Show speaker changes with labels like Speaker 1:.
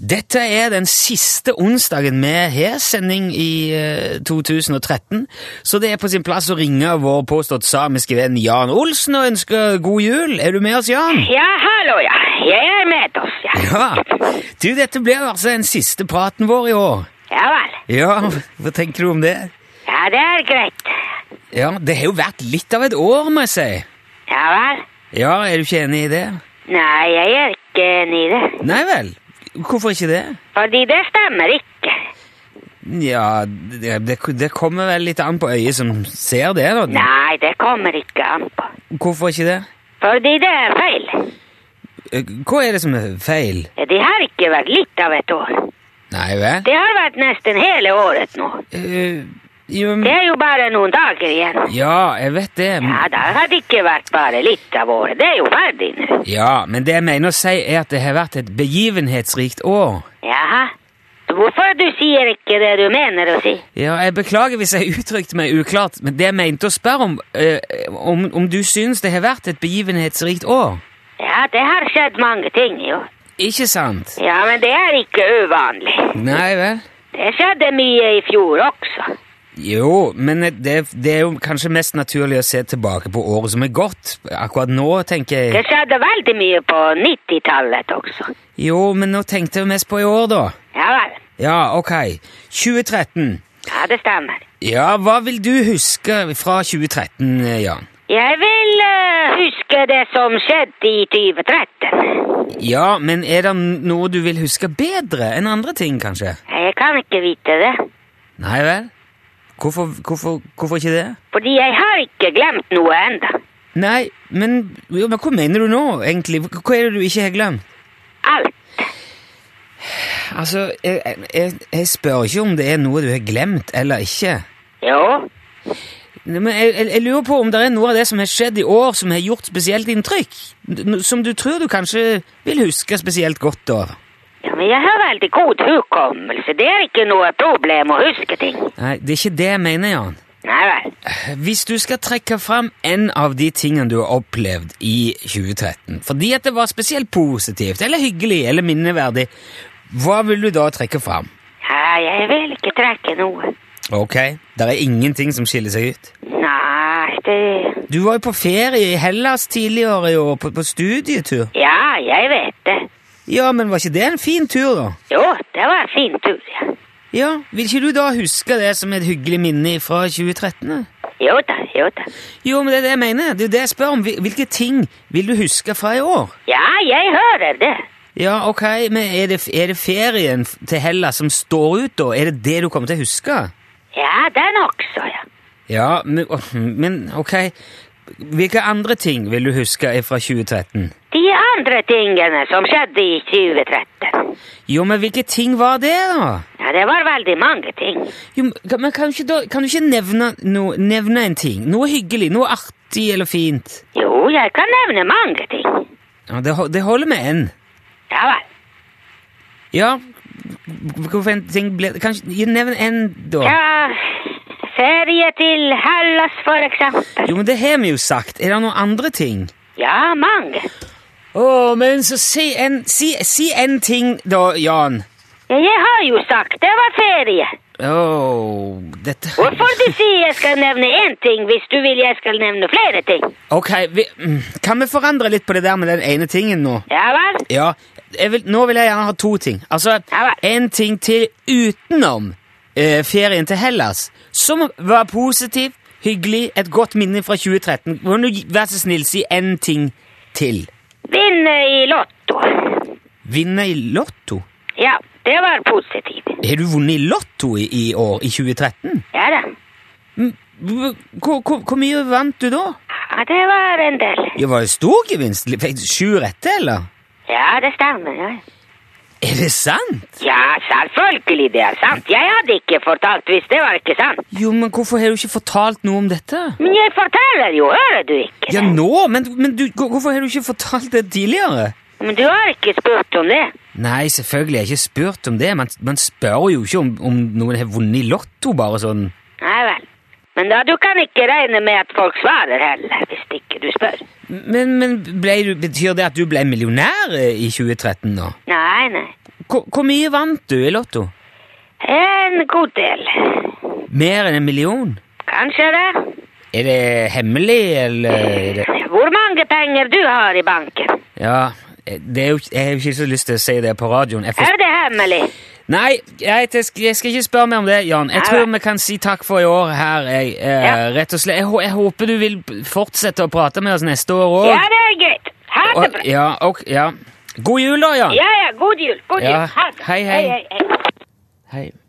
Speaker 1: Dette er den siste onsdagen vi har sending i eh, 2013, så det er på sin plass å ringe vår påstått samiske venn Jan Olsen og ønske god jul. Er du med oss, Jan?
Speaker 2: Ja, hallo, ja. Jeg er med oss, ja.
Speaker 1: Ja. Du, dette blir altså den siste praten vår i år.
Speaker 2: Ja vel.
Speaker 1: Ja, hva tenker du om det?
Speaker 2: Ja, det er greit.
Speaker 1: Ja, det har jo vært litt av et år, må jeg si.
Speaker 2: Ja vel.
Speaker 1: Ja, er du ikke enig i det?
Speaker 2: Nei, jeg er ikke enig i det.
Speaker 1: Nei vel. Hvorfor ikke det?
Speaker 2: Fordi det stemmer ikke.
Speaker 1: Ja, det, det, det kommer vel litt an på øyet som ser det, da.
Speaker 2: Nei, det kommer ikke an på.
Speaker 1: Hvorfor ikke det?
Speaker 2: Fordi det er feil.
Speaker 1: Eh, Hva er det som er feil?
Speaker 2: Det har ikke vært litt av et år.
Speaker 1: Nei vel?
Speaker 2: Det har vært nesten hele året nå.
Speaker 1: Eh, jo,
Speaker 2: Det er jo bare noen dager igjen.
Speaker 1: ja, jeg vet det.
Speaker 2: Ja, det har ikke vært bare litt av året. Det er jo ferdig nå.
Speaker 1: Ja, men det jeg mener å si er at det har vært et begivenhetsrikt år.
Speaker 2: Jaha. Hvorfor du sier ikke det du mener å si?
Speaker 1: Ja, jeg beklager hvis jeg uttrykte meg uklart, men det jeg mente å spørre om, eh, om, om du syns det har vært et begivenhetsrikt år.
Speaker 2: Ja, det har skjedd mange ting, jo.
Speaker 1: Ikke sant?
Speaker 2: Ja, men det er ikke uvanlig.
Speaker 1: Nei vel?
Speaker 2: Det skjedde mye i fjor også.
Speaker 1: Jo, men det, det er jo kanskje mest naturlig å se tilbake på året som er gått. Akkurat nå, tenker
Speaker 2: Det
Speaker 1: jeg.
Speaker 2: skjedde veldig mye på 90-tallet også.
Speaker 1: Jo, men nå tenkte jeg mest på i år, da.
Speaker 2: Ja vel.
Speaker 1: Ja, ok. 2013.
Speaker 2: Ja, det stemmer.
Speaker 1: Ja, hva vil du huske fra 2013, eh, Jan?
Speaker 2: Jeg vil eh, huske det som skjedde i 2013.
Speaker 1: Ja, men er det noe du vil huske bedre enn andre ting, kanskje?
Speaker 2: Jeg kan ikke vite det,
Speaker 1: Nei vel? Hvorfor, hvorfor, hvorfor ikke det?
Speaker 2: fordi jeg har ikke glemt noe enda.
Speaker 1: Nei, men, jo, men hva mener du nå, egentlig? Hva hva er det du ikke har glemt?
Speaker 2: Alt.
Speaker 1: Altså, jeg, jeg, jeg spør ikke om det er noe du har glemt eller ikke.
Speaker 2: Jo.
Speaker 1: Nei, Men jeg, jeg, jeg lurer på om det er noe av det som har skjedd i år som har gjort spesielt inntrykk? N- Som du tror du kanskje vil huske spesielt godt over?
Speaker 2: Ja, men jeg har veldig god hukommelse. Det er ikke noe problem å huske ting.
Speaker 1: Nei, det er ikke det jeg mener, Jan.
Speaker 2: Nei vel.
Speaker 1: Hvis du skal trekke fram en av de tingene du har opplevd i 2013, fordi at det var spesielt positivt, eller hyggelig, eller minneverdig, hva vil du da trekke fram?
Speaker 2: Ja, jeg vil ikke trekke noe.
Speaker 1: Ok, det er ingenting som skiller seg ut.
Speaker 2: Nei, det...
Speaker 1: Du var jo på ferie i Hellas tidligere i år, på, på studietur.
Speaker 2: Ja, jeg vet det.
Speaker 1: Ja, men var ikke det en fin tur, da?
Speaker 2: Jo, det var en fin tur, ja.
Speaker 1: Ja, vil ikke du da huske det som et hyggelig minne fra 2013? da?
Speaker 2: Jo da, jo da.
Speaker 1: Jo, men det er det jeg mener. Det er jo det jeg spør om. Hvil- Hvilke ting vil du huske fra i år?
Speaker 2: Ja, jeg hører det.
Speaker 1: Ja, ok, men er det, er det ferien f- til Hellas som står ut, da? Er det det du kommer til å huske?
Speaker 2: Ja, den også, ja.
Speaker 1: Ja, men, åh, men ok. Hvilke andre ting vil du huske fra 2013?
Speaker 2: De andre tingene som skjedde i 2013.
Speaker 1: Jo, men hvilke ting var det, da?
Speaker 2: Ja, det var veldig mange ting.
Speaker 1: Jo, men kan- men kan, du ikke da, kan du ikke nevne, no, nevne en ting? Noe hyggelig, noe artig eller fint?
Speaker 2: Jo, jeg kan nevne mange ting.
Speaker 1: Ja, det, ho- det holder med en.
Speaker 2: Ja vel.
Speaker 1: Ja, hvorfor en ting ble Kanskje nevn en, da.
Speaker 2: Ja, ferie til Hellas, for eksempel.
Speaker 1: Jo, men det har vi jo sagt. Er det noen andre ting?
Speaker 2: Ja, mange.
Speaker 1: Å, men så si en, si, si en ting da, Jan.
Speaker 2: Ja, Jeg har jo sagt det var ferie.
Speaker 1: Å, dette
Speaker 2: Hvorfor du sier jeg skal nevne én ting hvis du vil jeg skal nevne flere ting?
Speaker 1: Ok, vi, mm, kan vi forandre litt på det der med den ene tingen nå?
Speaker 2: Ja vel?
Speaker 1: Ja, jeg vil, nå vil jeg gjerne ha to ting. Altså,
Speaker 2: Ja vel.
Speaker 1: en ting til utenom eh, ferien til Hellas, som var positiv, hyggelig, et godt minne fra 2013. Kan du gi- vær så snill si en ting til?
Speaker 2: Vinne i Lotto.
Speaker 1: Vinne i lotto?
Speaker 2: Ja, det var positivt.
Speaker 1: Har du vunnet i lotto i, i år, i 2013?
Speaker 2: Ja da.
Speaker 1: Hvor, hvor, hvor mye vant du da?
Speaker 2: Ja, det var en del.
Speaker 1: Ja, var det stor gevinst? Fikk du sju rette, eller?
Speaker 2: Ja, det stemmer. Ja,
Speaker 1: Er det sant?
Speaker 2: ja selvfølgelig det er sant. Jeg hadde ikke fortalt hvis det var ikke sant.
Speaker 1: Jo, men hvorfor har du ikke fortalt noe om dette?
Speaker 2: Men jeg forteller jo, hører du ikke?
Speaker 1: Ja, nå? Men, men du, hvor- hvorfor har du ikke fortalt det tidligere?
Speaker 2: Men du har ikke spurt om det.
Speaker 1: Nei, selvfølgelig, jeg har ikke spurt om det. Man, man spør jo ikke om, om noen har vunnet i lotto, bare sånn.
Speaker 2: Nei vel. Men da, du kan ikke regne med at folk svarer heller, hvis ikke du spør.
Speaker 1: Men, men ble du, betyr det at du ble millionær eh, i 2013 da?
Speaker 2: Nei, nei.
Speaker 1: Hvor hvor mye vant du i Lotto?
Speaker 2: En god del.
Speaker 1: Mer enn en million?
Speaker 2: Kanskje det.
Speaker 1: Er det hemmelig, eller er det
Speaker 2: Hvor mange penger du har i banken?
Speaker 1: Ja, eh, det er jo, jeg har jo ikke så lyst til å si det på radioen. Jeg får...
Speaker 2: Er det hemmelig?
Speaker 1: Nei, jeg, jeg skal jeg skal ikke spørre mer om det, Jan. Jeg
Speaker 2: Nei,
Speaker 1: tror
Speaker 2: nei.
Speaker 1: vi kan si takk for i år her. Jeg, eh,
Speaker 2: Ja.
Speaker 1: rett og slett. Jeg, hå- jeg håper du vil fortsette å prate med oss neste år òg.
Speaker 2: Ja, det er greit. Ha det bra.
Speaker 1: ja, ok, ja. God jul, da, Jan.
Speaker 2: Ja, ja, god jul. God jul.
Speaker 1: Ja.
Speaker 2: Ha det.
Speaker 1: Hei, hei.
Speaker 2: hei, hei.
Speaker 1: Hei.